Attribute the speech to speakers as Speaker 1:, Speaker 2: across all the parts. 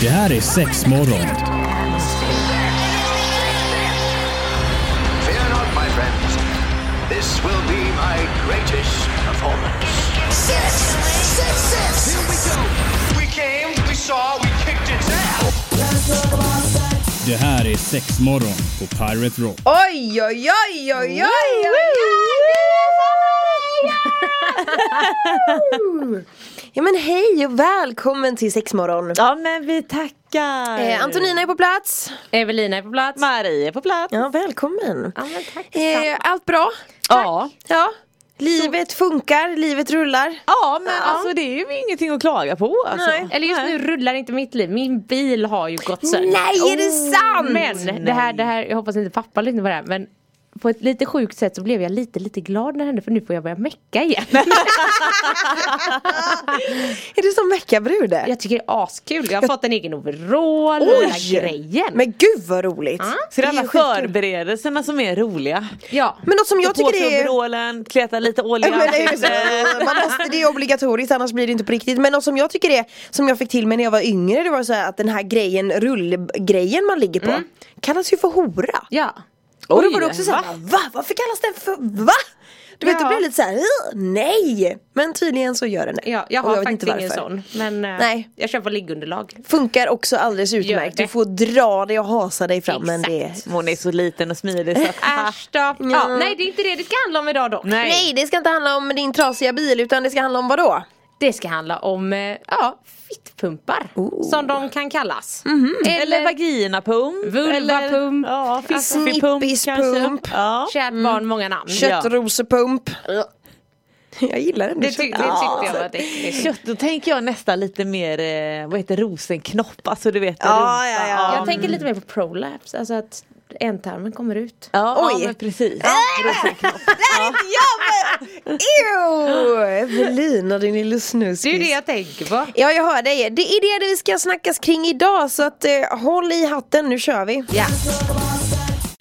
Speaker 1: Det här är Sexmorgon.
Speaker 2: Fear not, my friends. This will be my greatest performance.
Speaker 3: Six, six, six.
Speaker 2: We came, we saw, we kicked its ass.
Speaker 1: Det här är Sexmorgon på Pirate Rock.
Speaker 4: Oj, oj, oj, oj, oj, oj, oj. Ja men hej och välkommen till Sexmorgon.
Speaker 5: Ja men vi tackar!
Speaker 4: Eh, Antonina är på plats.
Speaker 6: Evelina är på plats.
Speaker 5: Marie är på plats.
Speaker 4: Ja, välkommen.
Speaker 6: Ja, men tack
Speaker 4: Eh,
Speaker 6: detsamma.
Speaker 4: allt bra?
Speaker 5: Ja.
Speaker 4: Ja. Livet funkar, livet rullar.
Speaker 5: Ja men alltså det är ju ingenting att klaga på alltså.
Speaker 4: Nej.
Speaker 6: Eller just nu rullar inte mitt liv, min bil har ju gått sönder.
Speaker 4: Nej, är det
Speaker 5: Oh,
Speaker 4: sant?
Speaker 6: Men det här, det här, jag hoppas inte pappa lyssnar på det här men på ett lite sjukt sätt så blev jag lite lite glad när det hände för nu får jag börja mecka igen.
Speaker 4: Är du som veckabrude?
Speaker 6: jag tycker det är askul, jag har fått en egen overall och hela grejen.
Speaker 4: Men gud vad roligt.
Speaker 5: Så
Speaker 4: Det är
Speaker 5: det är alla
Speaker 4: ju skitkul.
Speaker 5: förberedelserna som är roliga.
Speaker 6: ja.
Speaker 4: Men något som jag
Speaker 5: Ta på
Speaker 4: tycker
Speaker 5: sig
Speaker 4: är
Speaker 5: overallen, kleta lite olja
Speaker 4: Ja,
Speaker 5: i
Speaker 4: men det, är ju
Speaker 5: ansiktet.
Speaker 4: så. man måste, det är obligatoriskt annars blir det inte på riktigt Men något som jag tycker är Som jag fick till mig när jag var yngre Det var så här att den här grejen Rullgrejen man ligger på Kallas ju för hora
Speaker 6: Mm. ja.
Speaker 4: Och då
Speaker 5: Oj,
Speaker 4: var det också så här, va?
Speaker 5: va?
Speaker 4: Varför kallas den för va? Du vet det
Speaker 6: Ja.
Speaker 4: blev lite så här, "Ugh, Nej! Men tydligen så gör den det
Speaker 6: Ja, jag
Speaker 4: Och
Speaker 6: har
Speaker 4: vet
Speaker 6: faktiskt
Speaker 4: inte
Speaker 6: ingen
Speaker 4: varför.
Speaker 6: sån. Men eh,
Speaker 4: Nej.
Speaker 6: jag kör på liggunderlag.
Speaker 4: Funkar också alldeles utmärkt
Speaker 6: det.
Speaker 4: Du får dra dig och hasa dig fram men det
Speaker 6: Exakt.
Speaker 5: Hon är så liten och smidig så att,
Speaker 6: Äsch då. Ja.
Speaker 4: Ja.
Speaker 6: nej det är inte det det ska handla om idag dock.
Speaker 5: Nej.
Speaker 4: Nej det ska inte handla om din trasiga bil utan det ska handla om vad då?
Speaker 6: Det ska handla om eh, ja, fittpumpar som de kan kallas.
Speaker 4: Mhm.
Speaker 5: Eller vaginapump.
Speaker 6: Vulvapump.
Speaker 5: Eller, ja, fiskpump
Speaker 4: Snippispump.
Speaker 5: kanske. Ja.
Speaker 6: Kärt
Speaker 4: Mm.
Speaker 6: barn, många namn.
Speaker 4: Köttrosepump Jag gillar Ah. den
Speaker 6: Det, ty- det tyckte jag var ett äckligt.
Speaker 5: Kött, då tänker jag nästan lite mer, eh, vad heter rosenknopp, alltså du vet en
Speaker 4: Ja, ja,
Speaker 5: rumpa.
Speaker 4: ja.
Speaker 6: Jag tänker lite mer på prolaps, alltså att ändtarmen kommer ut.
Speaker 5: Ja,
Speaker 4: Oj.
Speaker 5: ja men precis.
Speaker 4: Ew! Evelina din lille
Speaker 6: Det är ju det
Speaker 4: snuskis.
Speaker 6: jag tänker på.
Speaker 4: Ja jag hör dig. Det är det vi ska snackas kring idag så att eh, håll i hatten, nu kör vi.
Speaker 6: Ja.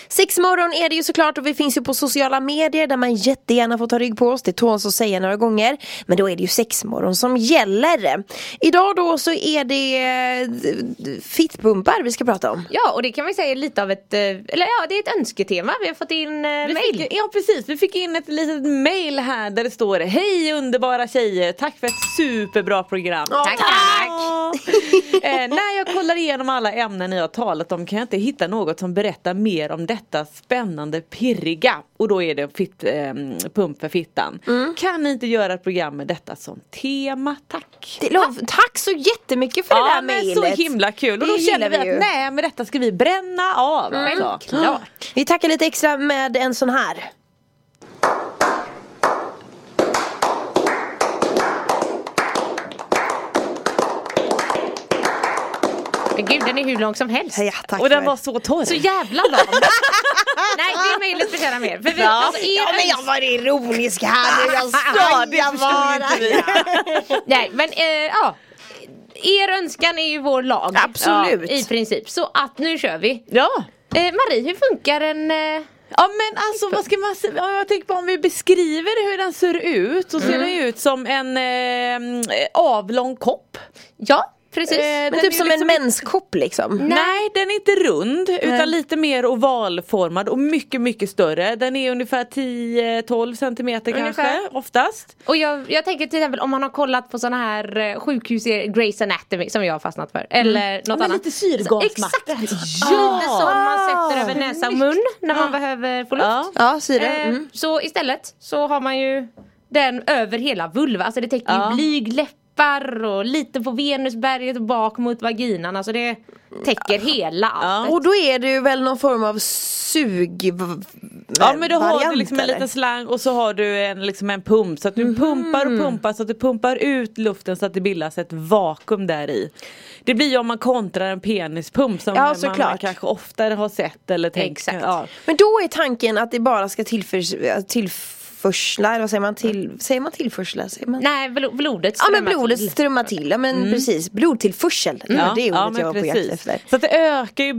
Speaker 4: Sexmorgon är det ju såklart och vi finns ju på sociala medier där man jättegärna får ta rygg på oss. Det tåls att säga några gånger. Men då är det ju sexmorgon som gäller. Idag då så är det eh, d- d- fittpumpar vi ska prata om.
Speaker 6: ja, och det kan man ju säga är lite av ett, eh, eller ja det är ett önsketema. Vi har fått in eh,
Speaker 5: Vi
Speaker 6: mail.
Speaker 5: fick, ja precis, vi fick in ett litet mail här där det står Hej underbara tjejer, tack för ett superbra program.
Speaker 6: Tack, tack.
Speaker 5: Ja. eh, när jag kollar igenom alla ämnen ni har talat om kan jag inte hitta något som berättar mer om detta spännande pirriga. Och då är det fitt, eh, pump för fittan.
Speaker 4: Mm.
Speaker 5: Kan ni inte göra ett program med detta som tema? Tack!
Speaker 4: Det, lov, tack så jättemycket för det
Speaker 5: Ja
Speaker 4: där
Speaker 5: men
Speaker 4: mejlet.
Speaker 5: så himla kul och
Speaker 4: Det
Speaker 5: då
Speaker 4: gillar
Speaker 5: känner vi
Speaker 4: vi ju. Mm.
Speaker 5: att nej men detta ska vi bränna av alltså.
Speaker 6: Klart.
Speaker 4: Vi tackar lite extra med en sån här.
Speaker 6: Men gud den är hur lång som helst.
Speaker 4: Ja, tack
Speaker 5: Och den
Speaker 4: för.
Speaker 5: var så torr.
Speaker 6: Så jävla lång. Nej det mejlet förtjänar mer. För vi, alltså, er
Speaker 4: Ja men jag var ironisk här nu, jag
Speaker 5: Ja, det
Speaker 4: skojar
Speaker 5: förstår
Speaker 4: bara!
Speaker 5: inte vi.
Speaker 6: Nej men eh, ja Er önskan är ju vår lag
Speaker 4: Absolut.
Speaker 6: I princip så att nu kör vi
Speaker 5: Ja.
Speaker 6: eh, Marie hur funkar en eh,
Speaker 5: Ja men alltså vad ska man säga, Ja, jag tänker på om vi beskriver hur den ser ut så ser den ju ut som en eh, avlång kopp.
Speaker 6: Ja precis
Speaker 5: Eh,
Speaker 4: Men
Speaker 5: den
Speaker 4: typ
Speaker 5: är
Speaker 4: som
Speaker 5: liksom Mm.
Speaker 4: en menskopp liksom.
Speaker 5: Nej. den är inte rund utan lite mer ovalformad och mycket mycket större. Den är ungefär 10-12 centimeter
Speaker 6: Ungefär.
Speaker 5: kanske oftast.
Speaker 6: Och jag, jag tänker till exempel om man har kollat på sådana här eh, sjukhus Grace Anatomy som jag har fastnat för Eller något
Speaker 5: Mm. men
Speaker 6: annat
Speaker 5: lite syrgasmatta.
Speaker 6: Så- Exakt!
Speaker 5: Ja.
Speaker 6: Lite som man sätter över näsa och mun när man behöver få luft
Speaker 5: Ja.
Speaker 4: Ja, syre.
Speaker 6: Eh,
Speaker 4: Mm.
Speaker 6: Så istället så har man ju den över hela vulva, alltså det täcker
Speaker 5: Ja.
Speaker 6: ju blyg, läppar och lite på venusberget och bak mot vaginan, alltså det täcker hela allt.
Speaker 4: Och då är det ju väl någon form av sug...
Speaker 5: Ja men då har du
Speaker 4: variant,
Speaker 5: liksom en
Speaker 4: eller? Mhm.
Speaker 5: liten slang och så har du en, liksom en pump så att du pumpar och pumpar så att du pumpar ut luften så att det bildas ett vakuum där i. Det blir ju om man kontrar en penispump som
Speaker 4: Ja,
Speaker 5: man
Speaker 4: såklart.
Speaker 5: kanske oftare har sett eller tänkt.
Speaker 6: Exakt.
Speaker 5: Ja.
Speaker 4: Men då är tanken att det bara ska tillförs... tillf tillförslar, eller vad säger man? Till, säger man tillförslar? Säger man?
Speaker 6: Nej, bl- blodet
Speaker 4: Ja men
Speaker 6: strömmar
Speaker 4: blodet
Speaker 6: till.
Speaker 4: strömmar till, ja
Speaker 5: Mm.
Speaker 4: men precis. Blodtillförsel, det var det ordet jag var på jakt efter. Mm.
Speaker 5: Så att det ökar ju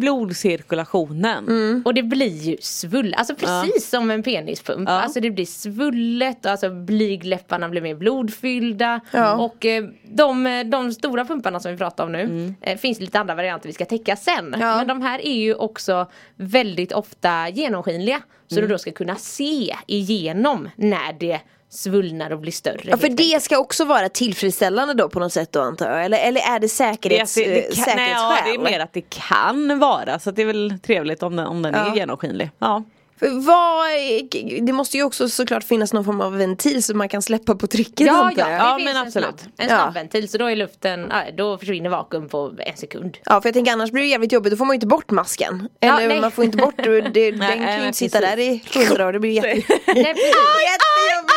Speaker 5: blodcirkulationen.
Speaker 6: Och det blir ju svull, alltså precis som en penispump.
Speaker 5: Ja.
Speaker 6: Alltså det blir svullet, och alltså blygläpparna blir mer blodfyllda.
Speaker 4: Ja.
Speaker 6: Och eh, de, de stora pumparna som vi pratar om nu, eh, finns lite andra varianter vi ska täcka sen.
Speaker 4: Mm. Ja.
Speaker 6: Men de här är ju också väldigt ofta genomskinliga. Så
Speaker 4: Mm.
Speaker 6: du då ska kunna se igenom när det svullnar och blir större. liksom.
Speaker 4: Ja för
Speaker 6: helt enkelt.
Speaker 4: det ska också vara tillfredsställande då på något sätt då antar jag, eller, eller är det
Speaker 5: Det, är
Speaker 4: säkerhets,
Speaker 5: att det, det,
Speaker 4: eh,
Speaker 5: kan, nej, ja, det
Speaker 4: säkerhetsskäl?
Speaker 5: är mer att det kan vara så att det är väl trevligt om den, om den
Speaker 4: Ja.
Speaker 5: är genomskinlig. Ja.
Speaker 4: För vad, är- det måste ju också såklart finnas någon form av ventil så man kan släppa på trycket
Speaker 6: Ja,
Speaker 4: antar
Speaker 6: ja,
Speaker 4: jag.
Speaker 5: Ja,
Speaker 6: det finns
Speaker 5: men
Speaker 6: en
Speaker 5: absolut.
Speaker 6: snabb, en
Speaker 4: Ja.
Speaker 6: snabb ventil så då är luften, ja, då försvinner vakuum på en sekund.
Speaker 4: Ja för jag tänker annars blir det jävligt jobbigt, då får man ju inte bort masken.
Speaker 6: Ja,
Speaker 4: Eller
Speaker 6: nej.
Speaker 4: man får inte bort, det, det, den kan ju
Speaker 5: nej,
Speaker 4: inte sitta där i hundra dagar, det blir jätte,
Speaker 6: Nej, precis.
Speaker 4: jättejobbigt.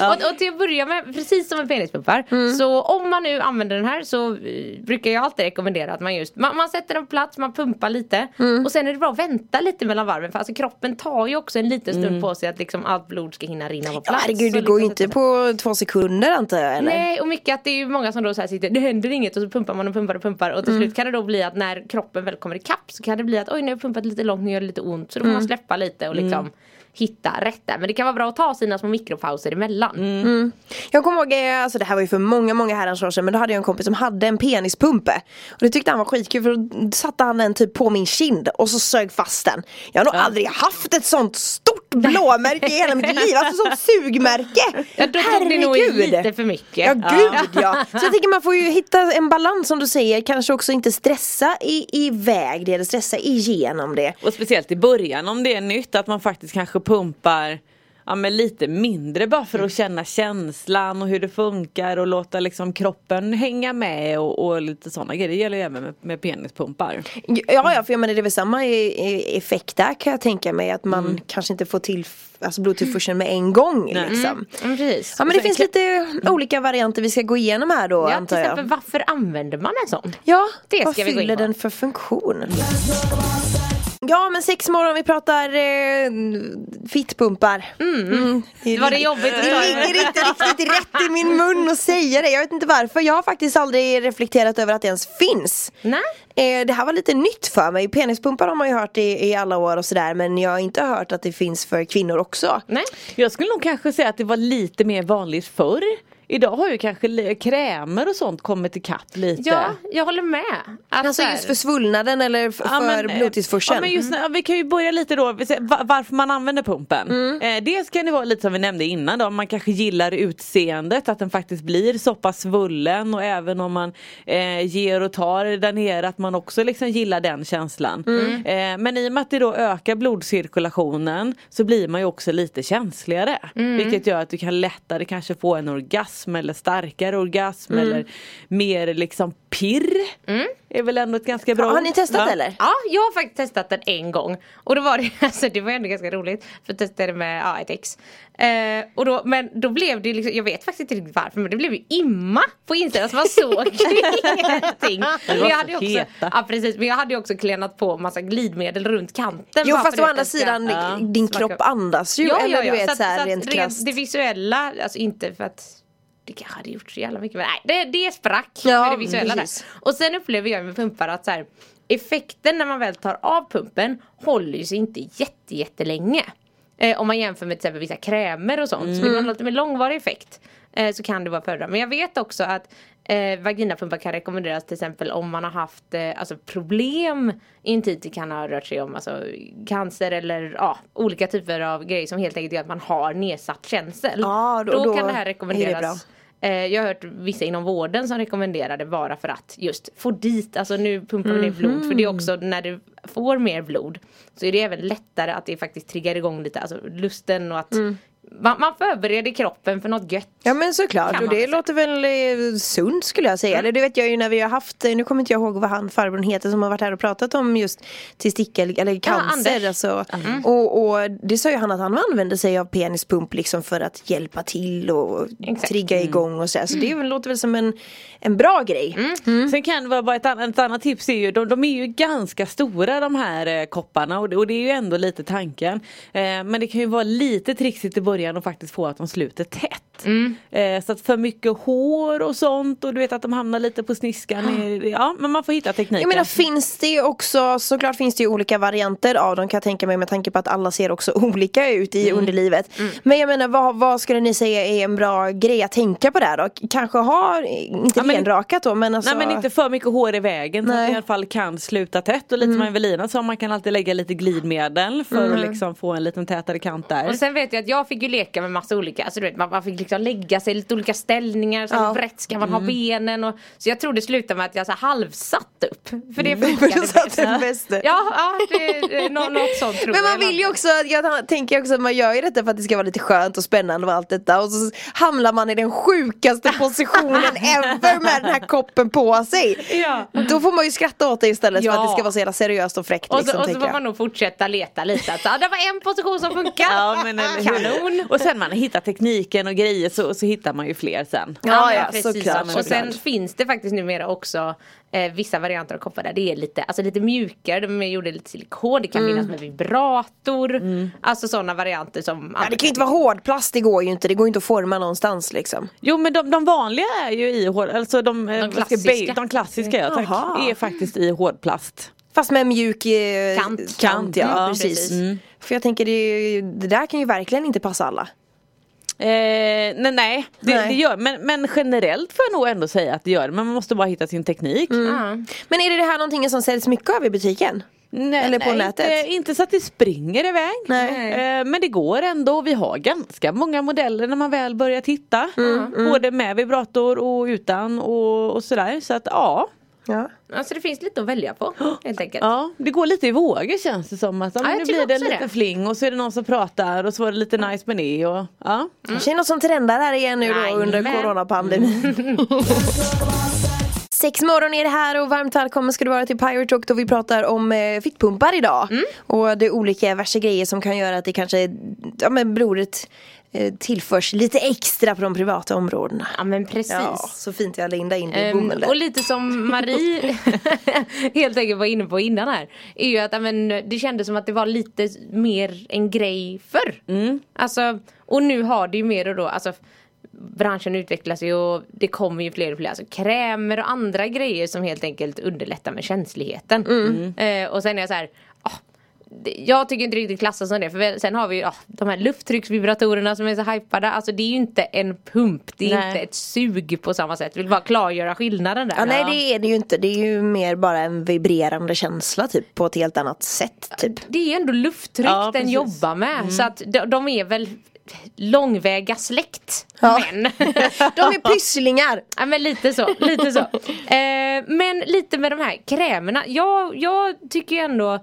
Speaker 6: Och, och till att börja med, precis som med penispumpar.
Speaker 4: Mm.
Speaker 6: Så om man nu använder den här så eh, brukar jag alltid rekommendera att man just man, man sätter den på plats, man pumpar lite.
Speaker 4: Mm.
Speaker 6: Och sen är det bra att vänta lite mellan varven. För alltså kroppen tar ju också en liten stund på sig att liksom allt blod ska hinna rinna på
Speaker 4: Mm. Ja,
Speaker 6: plats.
Speaker 4: herregud
Speaker 6: Så
Speaker 4: det går ju
Speaker 6: liksom
Speaker 4: inte
Speaker 6: sätta-
Speaker 4: på två sekunder antar jag eller?
Speaker 6: Nej och mycket att det är ju många som då så här sitter, det händer inget och så pumpar man och pumpar och pumpar och till
Speaker 4: Mm.
Speaker 6: slut kan det då bli att när kroppen väl kommer ikapp så kan det bli att oj nu har jag pumpat lite långt, nu gör det lite ont så då får
Speaker 4: Mm.
Speaker 6: man släppa lite och liksom hitta rätt där. Men det kan vara bra att ta sina små mikropauser emellan.
Speaker 4: Mm. Jag kommer ihåg, eh, alltså det här var ju för många, många herrans år sedan men då hade jag en kompis som hade en penispumpe Och det tyckte han var skitkul för då satte han den typ på min kind och så sög fast den Jag har nog aldrig haft ett sånt stort blåmärke i hela mitt liv, alltså sånt sugmärke!
Speaker 6: Ja, då tog det nog i lite för mycket.
Speaker 4: Ja gud ja! Så jag tänker man får ju hitta en balans som du säger, kanske också inte stressa i, iväg det eller stressa igenom det
Speaker 5: Och speciellt i början om det är nytt att man faktiskt kanske pumpar ja, men lite mindre bara för att känna känslan och hur det funkar och låta liksom kroppen hänga med och, och lite sådana grejer. Det gäller ju även med, med penispumpar.
Speaker 4: Ja, ja för jag menar det är väl samma i- i- effekt där kan jag tänka mig att
Speaker 6: Mm.
Speaker 4: man kanske inte får till alltså blodtillförseln med en gång liksom.
Speaker 6: Ja, men Mm, precis.
Speaker 4: Ja men det finns lite olika varianter vi ska gå igenom här då
Speaker 6: ja, till
Speaker 4: antar
Speaker 6: exempel,
Speaker 4: jag.
Speaker 6: varför använder man en sån?
Speaker 4: Ja,
Speaker 6: det ska
Speaker 4: vad
Speaker 6: vi gå in
Speaker 4: fyller
Speaker 6: på.
Speaker 4: den för funktion? Ja men sex morgon, vi pratar eh, fittpumpar. Mm.
Speaker 6: Det var det jobbigt att
Speaker 4: Det
Speaker 6: ta
Speaker 4: ligger inte riktigt rätt i min mun att säga det. Jag vet inte varför. Jag har faktiskt aldrig reflekterat över att det ens finns.
Speaker 6: Nej.
Speaker 4: Eh, det här var lite nytt för mig. Penispumpar har man ju hört i, i alla år och sådär. Men jag har inte hört att det finns för kvinnor också.
Speaker 6: Nej.
Speaker 5: Jag skulle nog kanske säga att det var lite mer vanligt förr. Idag har ju kanske li- krämer och sånt kommit ikapp lite.
Speaker 6: Ja, jag håller med. Att
Speaker 4: Alltså
Speaker 6: så här-
Speaker 4: just för svullnaden eller f-
Speaker 5: Ja,
Speaker 4: för
Speaker 5: men, eh,
Speaker 4: blodtillförseln.
Speaker 5: Ja, men just, när- ja, vi kan ju börja lite då, vi säger, va- varför man använder pumpen.
Speaker 4: Mm.
Speaker 5: Eh, dels kan det vara lite som vi nämnde innan då, man kanske gillar utseendet, att den faktiskt blir så pass svullen och även om man eh, ger och tar där nere att man också liksom gillar den känslan.
Speaker 4: Mm.
Speaker 5: Eh, men i och med att det då ökar blodcirkulationen så blir man ju också lite känsligare.
Speaker 4: Mm.
Speaker 5: Vilket gör att du kan lättare kanske få en orgasm eller starkare orgasm
Speaker 4: Mm.
Speaker 5: eller mer liksom pirr. Är väl ändå ett ganska bra
Speaker 4: har
Speaker 5: ord,
Speaker 4: ni testat
Speaker 5: va?
Speaker 4: eller?
Speaker 6: Ja, jag har faktiskt testat den en gång. Och då var det, alltså det var ändå ganska roligt. För jag testade det med ja, ett ex. Eh, och då, men då blev det liksom, jag vet faktiskt inte riktigt varför men det blev ju imma på insidan så man såg ingenting. Men
Speaker 5: var
Speaker 6: jag
Speaker 5: så
Speaker 6: hade ju också,
Speaker 5: heta.
Speaker 6: ja, precis, men jag hade ju också klenat på massa glidmedel runt kanten.
Speaker 4: Jo
Speaker 6: bara
Speaker 4: fast
Speaker 6: för
Speaker 4: å
Speaker 6: att
Speaker 4: andra
Speaker 6: den ska-
Speaker 4: sidan
Speaker 6: Ja.
Speaker 4: din
Speaker 6: smaka.
Speaker 4: kropp andas ju. eller du vet så här,
Speaker 6: att
Speaker 4: rent krasst.
Speaker 6: Det visuella, alltså inte för att det kanske hade gjort så jävla mycket men nej det, det sprack
Speaker 4: Ja,
Speaker 6: med det visuella där.
Speaker 4: precis.
Speaker 6: Och sen upplever jag med pumpar att så här, effekten när man väl tar av pumpen håller ju sig inte jätte, jättelänge. Eh, om man jämför med till exempel vissa krämer och sånt. Så vill
Speaker 4: Mm.
Speaker 6: man ha lite mer långvarig effekt eh, så kan det vara föredra. Men jag vet också att eh, vaginapumpar kan rekommenderas till exempel om man har haft eh, alltså problem i en tid det kan ha rört sig om alltså, cancer eller ja, olika typer av grejer som helt enkelt gör att man har nedsatt känsel.
Speaker 4: Ja, då-
Speaker 6: då,
Speaker 4: då
Speaker 6: kan det
Speaker 4: är
Speaker 6: här
Speaker 4: det
Speaker 6: rekommenderas.
Speaker 4: bra.
Speaker 6: Eh, Jag har hört vissa inom vården som rekommenderar det bara för att just få dit, alltså nu pumpar vi ner blod för det är också
Speaker 4: Mhm.
Speaker 6: när du får mer blod så är det även lättare att det faktiskt triggar igång lite, alltså lusten och att man, man förbereder kroppen för något gött.
Speaker 4: Mm. Ja men såklart
Speaker 6: Kan
Speaker 4: och
Speaker 6: man
Speaker 4: det
Speaker 6: väl säga. Mm.
Speaker 4: låter väl eh, sunt skulle jag säga. Eller det vet jag ju när vi har haft, eh, nu kommer inte jag ihåg vad han farbrorn heter som har varit här och pratat om just testikel eller cancer.
Speaker 6: Anders. Mm.
Speaker 4: alltså. och, och det sa ju han att han använde sig av penispump liksom för att hjälpa till och
Speaker 6: Exakt. Mm.
Speaker 4: trigga igång och sådär. Så det är väl- låter väl som en, en bra grej. Mm.
Speaker 5: Sen kan det vara bara ett annat, ett annat tips är ju, de, de är ju ganska stora de här eh, kopparna och det, och det är ju ändå lite tanken. Eh, men det kan ju vara lite trixigt i början och faktiskt få att de sluter tätt.
Speaker 4: Mm.
Speaker 5: Eh, så att för mycket hår och sånt och du vet att de hamnar lite på sniskan. i- Ja men man får hitta tekniken.
Speaker 4: Ah. Jag menar finns det ju också, såklart finns det ju olika varianter av dem kan jag tänka mig med tanke på att alla ser också olika ut
Speaker 6: Mm.
Speaker 4: i underlivet. Men jag menar vad, vad skulle ni säga är en bra grej att tänka på där då? Kanske ha, inte
Speaker 5: Ja, men-
Speaker 4: renrakat då men alltså
Speaker 5: Nej men inte för mycket hår i vägen så att
Speaker 4: Nej. Mm.
Speaker 5: det i alla fall kan sluta tätt och lite som Evelina sa man kan alltid lägga lite glidmedel för att liksom få en liten tätare kant där.
Speaker 6: Och sen vet jag att jag fick ju leka med massa olika, alltså du vet man, man fick liksom lägga sig i lite olika ställningar, så
Speaker 4: Ja. Mm.
Speaker 6: brett ska man ha benen och Så jag tror det slutade med att jag så halvsatt upp För det funkade
Speaker 4: Mm. du satt den
Speaker 6: bäst.
Speaker 4: bäste.
Speaker 6: Ja, ja det, nå- något sånt tror
Speaker 4: Men
Speaker 6: jag
Speaker 4: man vill ju också, jag tänker också att man gör ju detta för att det ska vara lite skönt och spännande och allt detta och så hamnar man i den sjukaste positionen ever med den här koppen på sig.
Speaker 6: Ja.
Speaker 4: Då får man ju skratta åt det istället för att det
Speaker 6: Ja.
Speaker 4: ska vara så jävla seriöst och fräckt
Speaker 6: Och så,
Speaker 4: liksom,
Speaker 6: och så
Speaker 4: tänker
Speaker 6: får
Speaker 4: jag.
Speaker 6: man nog fortsätta leta lite. Alltså, ah, det var en position som funkar.
Speaker 5: Ja, men eller hur?
Speaker 6: Kanon!
Speaker 5: Och sen man hittar tekniken och grejer så, så hittar man ju fler sen.
Speaker 4: Ja, ja,
Speaker 6: precis.
Speaker 4: såklart,
Speaker 6: Och sen
Speaker 5: såklart.
Speaker 6: finns det faktiskt numera också eh, vissa varianter av koppar där det är lite, alltså lite mjukare, de är gjorda i lite silikon, det kan
Speaker 4: Mm.
Speaker 6: finnas med vibrator. Alltså sådana varianter som...
Speaker 4: Ja, det kan ju inte vara hårdplast, det går ju inte. Det går ju inte att forma någonstans liksom.
Speaker 5: Jo men de, de vanliga är ju i hård, alltså de, eh, vad ska jag-
Speaker 6: klassiska.
Speaker 5: de klassiska ja, tack,
Speaker 4: Jaha.
Speaker 5: är faktiskt i hårdplast.
Speaker 4: Fast med en mjuk eh,
Speaker 6: Kant.
Speaker 4: kant ja,
Speaker 5: Mm,
Speaker 4: precis.
Speaker 6: precis.
Speaker 4: För jag tänker det, är ju- det där kan ju verkligen inte passa alla.
Speaker 5: Eh, nej, nej, det,
Speaker 4: Nej.
Speaker 5: det gör men, men generellt får jag nog ändå säga att det gör det. Men man måste bara hitta sin teknik.
Speaker 6: Ja.
Speaker 4: Men är det det här någonting som säljs mycket av i butiken?
Speaker 5: Nej,
Speaker 4: Eller på
Speaker 5: nej,
Speaker 4: nätet?
Speaker 5: Inte, inte så att det springer iväg.
Speaker 4: Nej.
Speaker 5: Eh, men det går ändå. Vi har ganska många modeller när man väl börjar titta. Mm. Både med vibrator och utan och, och sådär. Så att ja.
Speaker 4: Ja.
Speaker 6: Alltså det finns lite att välja på helt enkelt.
Speaker 5: Ja, det går lite i vågor känns det som. Att, ja, men
Speaker 6: jag
Speaker 5: nu
Speaker 6: tycker
Speaker 5: blir det
Speaker 6: också
Speaker 5: lite
Speaker 6: det.
Speaker 5: fling och så är det någon som pratar och så var det lite nice med det. Och, ja.
Speaker 4: Kanske är något som trendar här igen nu då under
Speaker 6: Mm. Jajamän.
Speaker 4: coronapandemin. Sex morgon är det här och varmt välkommen ska du vara till Pirate Rock då vi pratar om eh, fittpumpar idag.
Speaker 6: Mm.
Speaker 4: Och det är olika värsta grejer som kan göra att det kanske, ja men blodet eh, tillförs lite extra på de privata områdena.
Speaker 6: Ja men precis.
Speaker 4: Ja, så fint jag lindade in det i
Speaker 6: Ehm,
Speaker 4: bomullen.
Speaker 6: och lite som Marie helt enkelt var inne på innan här. Är ju att amen, det kändes som att det var lite mer en grej förr. Alltså, och nu har det ju mer och då. Alltså, branschen utvecklas ju och det kommer ju fler och fler alltså, krämer och andra grejer som helt enkelt underlättar med känsligheten. Eh, och sen är jag så här, ah, det- jag tycker inte riktigt klassas som det för vi- sen har vi ju ah, de här lufttrycksvibratorerna som är så hypade. Alltså det är ju inte en pump, det är
Speaker 5: Nej.
Speaker 6: inte ett sug på samma sätt. Vill bara klargöra skillnaden där.
Speaker 4: Ja, nej det är det ju inte, det är ju mer bara en vibrerande känsla typ på ett helt annat sätt typ.
Speaker 6: Det är ju ändå lufttryck
Speaker 5: Ja,
Speaker 6: den
Speaker 5: precis.
Speaker 6: jobbar med. Så att de, de är väl långväga släkt.
Speaker 4: Ja.
Speaker 6: Men.
Speaker 4: De är pysslingar!
Speaker 6: Ja men lite så, lite så. Eh, men lite med de här krämerna. Jag, jag tycker ju ändå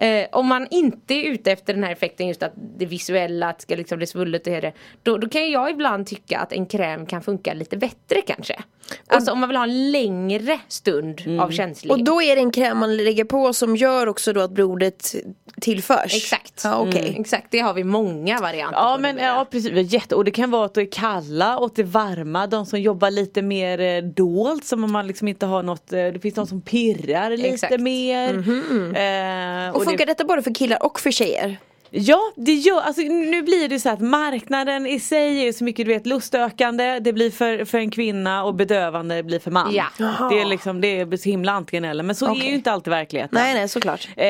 Speaker 6: eh, om man inte är ute efter den här effekten just att det visuella att det ska liksom bli svullet och det, då, då kan jag ibland tycka att en kräm kan funka lite bättre kanske. Alltså om man vill ha en längre stund av känslighet.
Speaker 4: Och då är det en kräm man lägger på som gör också då att blodet tillförs?
Speaker 6: Exakt.
Speaker 4: Ja, okej.
Speaker 5: Mm.
Speaker 6: Exakt, det har vi många varianter
Speaker 5: Ja
Speaker 6: på
Speaker 4: eh,
Speaker 5: men
Speaker 6: numera.
Speaker 5: ja, precis, Vi har jätte, och det kan vara åt det kalla, åt det varma, de som jobbar lite mer eh, dolt som om man liksom inte har något, eh, det finns de som pirrar lite
Speaker 6: Exakt.
Speaker 5: mer. Eh,
Speaker 4: Och
Speaker 5: det-
Speaker 4: funkar detta både för killar och för tjejer?
Speaker 5: Ja, det gör, alltså, nu blir det så att marknaden i sig är så mycket du vet lustökande, det blir för, för en kvinna och bedövande blir för man.
Speaker 6: Ja.
Speaker 5: Det är liksom, det är så himla antingen eller, men så är ju inte alltid verkligheten.
Speaker 4: Nej, nej såklart.
Speaker 5: Eh,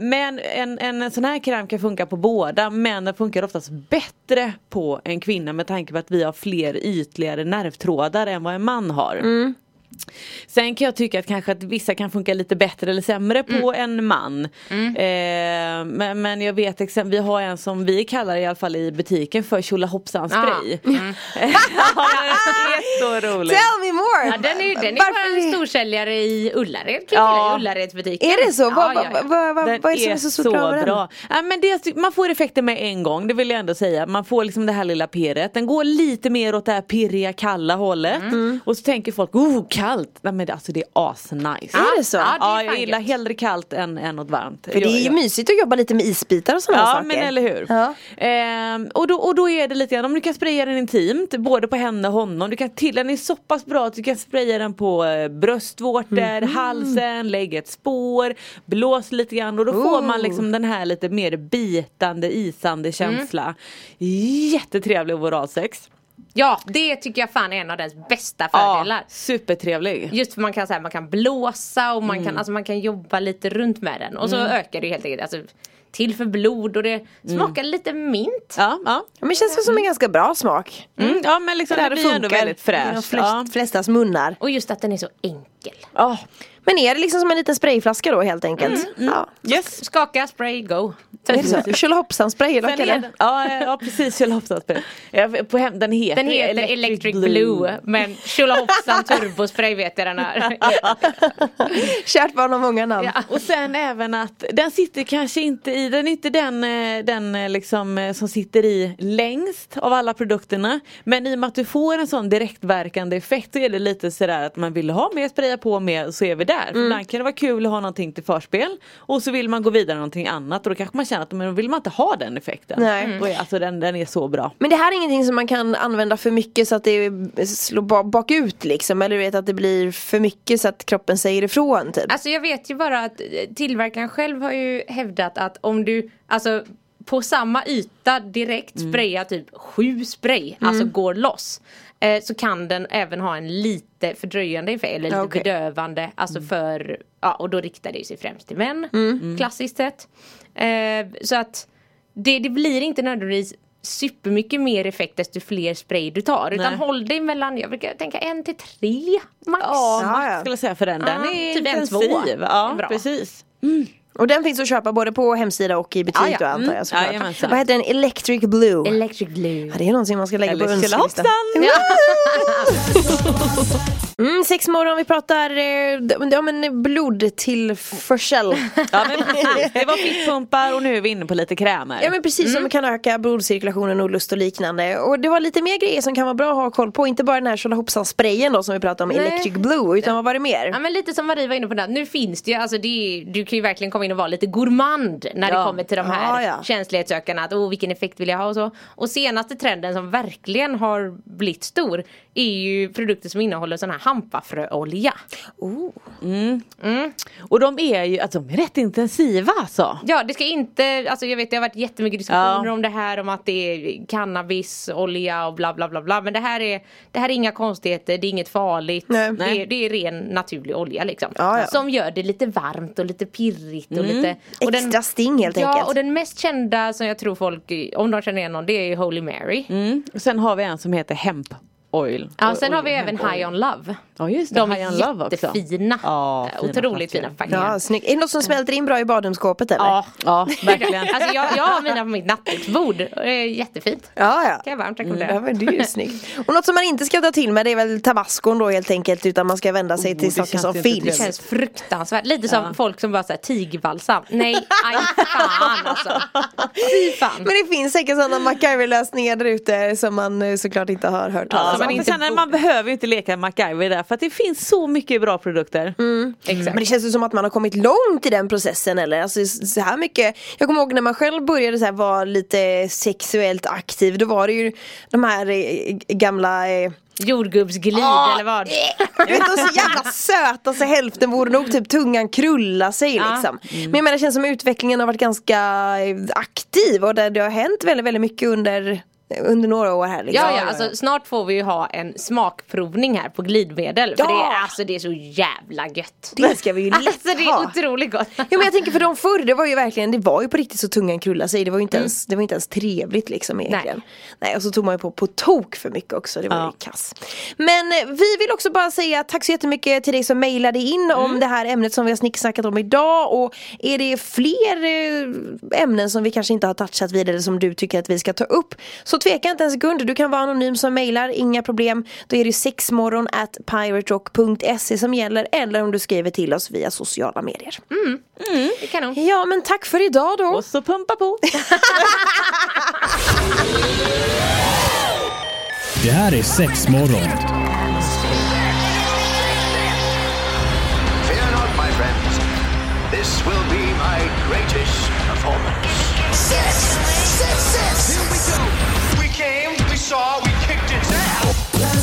Speaker 5: men en, en, sån här kräm kan funka på båda men den funkar oftast bättre på en kvinna med tanke på att vi har fler ytligare nervtrådar än vad en man har.
Speaker 4: Mm.
Speaker 5: Sen kan jag tycka att kanske att vissa kan funka lite bättre eller sämre
Speaker 4: Mm.
Speaker 5: på en man. Eh, men, men jag vet exempel, vi har en som vi kallar i alla fall i butiken för
Speaker 4: Ah.
Speaker 5: tjolahoppsan-spray. ja, den är så rolig.
Speaker 4: Mm. Tell me more!
Speaker 6: Ja, den är ju den
Speaker 4: Varför
Speaker 6: är bara en storsäljare i Ullared.
Speaker 5: Ja.
Speaker 6: Ja. Ullaredsbutiken.
Speaker 4: Är det så?
Speaker 6: Ja,
Speaker 4: vad,
Speaker 6: ja, ja.
Speaker 4: vad- vad- vad-
Speaker 5: Den
Speaker 4: vad är det som är så stort bra med den?
Speaker 5: bra. Ja, men det, man får effekten med en gång, det vill jag ändå säga. Man får liksom
Speaker 4: Mm.
Speaker 5: det här lilla pirret. Den går lite mer åt det här pirriga, kalla hållet. Och så Mm. tänker folk, oh, kall kallt, nej men det, alltså det är asnice.
Speaker 4: Är Ah, det så?
Speaker 6: Ja, det är
Speaker 5: Ja,
Speaker 6: fan
Speaker 5: jag gillar
Speaker 6: gött.
Speaker 5: hellre kallt än, än något varmt.
Speaker 4: För det är ju mysigt att jobba lite med isbitar och sådana
Speaker 5: Ja
Speaker 4: saker.
Speaker 5: men eller hur.
Speaker 4: Ja.
Speaker 5: Ehm, och, då, och då är det lite grann, om du kan spraya den intimt, både på henne och honom. Du kan till, den är så pass bra att du kan spraya den på eh, bröstvårtor,
Speaker 4: Mhm.
Speaker 5: halsen, lägg ett spår, blås lite grann och då får man liksom den här lite mer bitande,
Speaker 4: Mm.
Speaker 5: isande känsla. Jättetrevlig oralsex.
Speaker 6: Ja, det tycker jag fan är en av dess bästa fördelar.
Speaker 5: supertrevlig.
Speaker 6: Just för man kan, så här, man kan blåsa och man, kan,
Speaker 4: Mm.
Speaker 6: alltså, man kan jobba lite runt med den. Och så ökar det ju helt enkelt. Alltså, till för blod och
Speaker 4: Mm.
Speaker 6: det smakar lite mint.
Speaker 5: Ja, ja.
Speaker 4: Ja, men det känns väl som en ganska bra smak.
Speaker 5: Mm, ja men liksom det,
Speaker 4: hade
Speaker 5: blir ju ändå
Speaker 4: funkat
Speaker 5: väldigt
Speaker 4: i De
Speaker 5: fräscht.
Speaker 4: flest,
Speaker 5: Ja.
Speaker 4: flestas munnar.
Speaker 6: Och just att den är så enkel.
Speaker 5: Ja.
Speaker 4: Men är det liksom som en liten sprayflaska då helt enkelt?
Speaker 5: Mm,
Speaker 4: Ja.
Speaker 5: Yes.
Speaker 6: Skaka, spray, go.
Speaker 4: Är det så? Kjolahoppsan-spray eller vad
Speaker 5: Sen
Speaker 4: kallar
Speaker 5: är
Speaker 4: det?
Speaker 5: den, ja, ja precis, Kjell Hoppsatspel. På hem, den heter,
Speaker 6: Den heter Electric Blue, men tjolahoppsan turbospray vet jag den här.
Speaker 4: Kärt barn har många namn.
Speaker 6: Ja.
Speaker 5: Och sen även att den sitter kanske inte i, den är inte den, eh, den eh, liksom eh, som sitter i längst av alla produkterna. Men i och med att du får en sån direktverkande effekt så är det lite sådär att man vill ha mer, spraya på mer så är vi där.
Speaker 6: Mm.
Speaker 5: För Ibland kan det vara kul att ha någonting till förspel och så vill man gå vidare med någonting annat och då kanske man känner att men då vill man inte ha den effekten.
Speaker 4: Nej. Mm.
Speaker 5: Och, alltså den, den är så bra.
Speaker 4: Men det här är ingenting som man kan använda för mycket så att det slår ba- bakut liksom? Eller du vet att det blir för mycket så att kroppen säger ifrån typ?
Speaker 6: Alltså jag vet ju bara att eh, tillverkaren själv har ju hävdat att om du, alltså på samma yta direkt
Speaker 4: Mm.
Speaker 6: spraya typ sju spray, alltså går loss. Eh, så kan den även ha en lite fördröjande effekt, eller lite
Speaker 4: Okej. Mm.
Speaker 6: bedövande, alltså för, ja och då riktar det sig främst till män, klassiskt sett. Eh, så att det, det blir inte nödvändigtvis supermycket mer effekt desto fler spray du tar. Utan
Speaker 5: Nej.
Speaker 6: håll dig mellan, jag brukar tänka en till tre max.
Speaker 5: Ja,
Speaker 4: Ja, ja.
Speaker 5: max skulle jag säga för den. Den
Speaker 6: Ja,
Speaker 5: är
Speaker 6: typ en två.
Speaker 5: intensiv. Ja,
Speaker 6: Bra.
Speaker 5: precis.
Speaker 4: Och den finns att köpa både på hemsida och i butik
Speaker 6: Ja, ja.
Speaker 4: då antar
Speaker 5: Mm.
Speaker 4: jag såklart.
Speaker 5: Jajamensan.
Speaker 4: Vad heter den? Electric Blue?
Speaker 6: Electric blue.
Speaker 4: ja, det är någonting man ska lägga
Speaker 5: Eller
Speaker 4: på önskelistan.
Speaker 5: tjolahoppsan!
Speaker 4: Mm, sex morgon, vi pratar eh, d- ja, men blodtillförsel.
Speaker 5: Ja men precis, det var fickpumpar och nu är vi inne på lite krämer.
Speaker 4: Ja men precis
Speaker 6: Mm.
Speaker 4: som kan öka blodcirkulationen och lust och liknande. Och det var lite mer grejer som kan vara bra att ha koll på. Inte bara den här tjolahoppsan-sprayen då som vi pratade om,
Speaker 6: Nej.
Speaker 4: Electric Blue. Utan vad var det mer?
Speaker 6: Ja men lite som Marie var inne på där. nu finns det ju, alltså det är, du kan ju verkligen komma in och vara lite gourmand när
Speaker 5: Ja.
Speaker 6: det kommer till de
Speaker 4: Ja,
Speaker 6: här
Speaker 4: ja.
Speaker 6: känslighetssökarna, att oh, vilken effekt vill jag ha och så. Och senaste trenden som verkligen har blivit stor är ju produkter som innehåller sån här hampafröolja.
Speaker 5: Och de är ju, alltså de är rätt intensiva alltså.
Speaker 6: Ja det ska inte, alltså jag vet det har varit jättemycket diskussioner
Speaker 5: Ja.
Speaker 6: om det här om att det är cannabisolja och bla bla bla bla men det här är, det här är inga konstigheter, det är inget farligt,
Speaker 4: Nej.
Speaker 6: Det,
Speaker 5: Nej.
Speaker 6: är, det är ren naturlig olja liksom.
Speaker 4: Ja, ja.
Speaker 6: Som gör det lite varmt och lite pirrigt och lite och
Speaker 4: Extra sting helt
Speaker 6: ja,
Speaker 4: enkelt.
Speaker 6: och den mest kända som jag tror folk, om de känner igen någon, det är ju Holy Mary.
Speaker 5: Mm. Och sen har vi en som heter Hemp Oil.
Speaker 6: Ja, sen
Speaker 5: Oj,
Speaker 6: har vi
Speaker 5: oj,
Speaker 6: även
Speaker 5: hemp oil.
Speaker 6: High On Love.
Speaker 5: Ja just det,
Speaker 6: De
Speaker 5: High
Speaker 6: är
Speaker 5: on Love också.
Speaker 6: jättefina.
Speaker 5: Ja, fina
Speaker 6: Otroligt
Speaker 5: flaskor.
Speaker 6: fina förpackningar.
Speaker 4: Ja, snyggt. Är det något som smälter in bra i badrumsskåpet eller?
Speaker 6: Ja.
Speaker 5: Ja verkligen.
Speaker 6: Alltså jag, jag har mina på mitt nattduksbord. Eh, Jättefint.
Speaker 4: Ja, Mm,
Speaker 6: Kan jag varmt
Speaker 5: Mm,
Speaker 6: rekommendera.
Speaker 4: Ja, men det är ju snyggt. Och något som man inte ska ta till med det är väl tabascon då helt enkelt utan man ska vända sig till
Speaker 5: Oh, det
Speaker 4: saker
Speaker 5: känns
Speaker 4: som
Speaker 5: inte
Speaker 6: Det
Speaker 4: finns.
Speaker 5: trevligt.
Speaker 6: känns fruktansvärt. Lite som folk som bara säger tigbalsam. Nej, aj fan alltså. Fy fan.
Speaker 4: Men det finns säkert sådana MacGyver-lösningar där ute som man eh, såklart inte har hört
Speaker 5: Ja,
Speaker 4: talas
Speaker 5: men
Speaker 4: om.
Speaker 5: inte sen, man behöver ju inte leka MacGyver där för att det finns så mycket bra produkter.
Speaker 6: Mm. Exakt.
Speaker 4: Men det känns ju som att man har kommit långt i den processen eller? Alltså så här mycket Jag kommer ihåg när man själv började så här, vara lite sexuellt aktiv Då var det ju de här eh, gamla eh,
Speaker 6: Jordgubbsglid eller vad.
Speaker 4: Du vet de så jävla söta så hälften borde nog typ tungan krulla sig
Speaker 6: Ja. Mm.
Speaker 4: liksom Men jag menar det känns som utvecklingen har varit ganska eh, aktiv och där det har hänt väldigt väldigt mycket under under några år här liksom.
Speaker 6: Ja, ja, alltså snart får vi ju ha en smakprovning här på glidmedel. För
Speaker 4: Ja!
Speaker 6: det, är, alltså, det är så jävla gött.
Speaker 4: Det ska vi ju lätt
Speaker 6: Alltså det
Speaker 4: ha.
Speaker 6: är otroligt gott.
Speaker 4: Jo men jag tänker för de förr, det var ju verkligen, det var ju på riktigt så tungan krullade sig. Det var ju inte, ens, det var inte ens trevligt liksom egentligen. Nej. och så tog man ju på på tok för mycket också, det var ju
Speaker 5: Ja.
Speaker 4: kass. Men eh, vi vill också bara säga tack så jättemycket till dig som mejlade in om det här ämnet som vi har snicksnackat om idag. Och är det fler eh, ämnen som vi kanske inte har touchat vid eller som du tycker att vi ska ta upp. Så tveka inte en sekund, du kan vara anonym som mejlar, inga problem. Då är det sexmorgon at piraterock.se som gäller eller om du skriver till oss via sociala medier.
Speaker 6: Det är kanon.
Speaker 4: Ja men tack för idag då.
Speaker 5: Och så pumpa på.
Speaker 1: Det här är sex morgon.
Speaker 3: Fear.
Speaker 2: performance.
Speaker 3: six, six, six. Here we go.
Speaker 2: We came, we saw, we kicked its ass.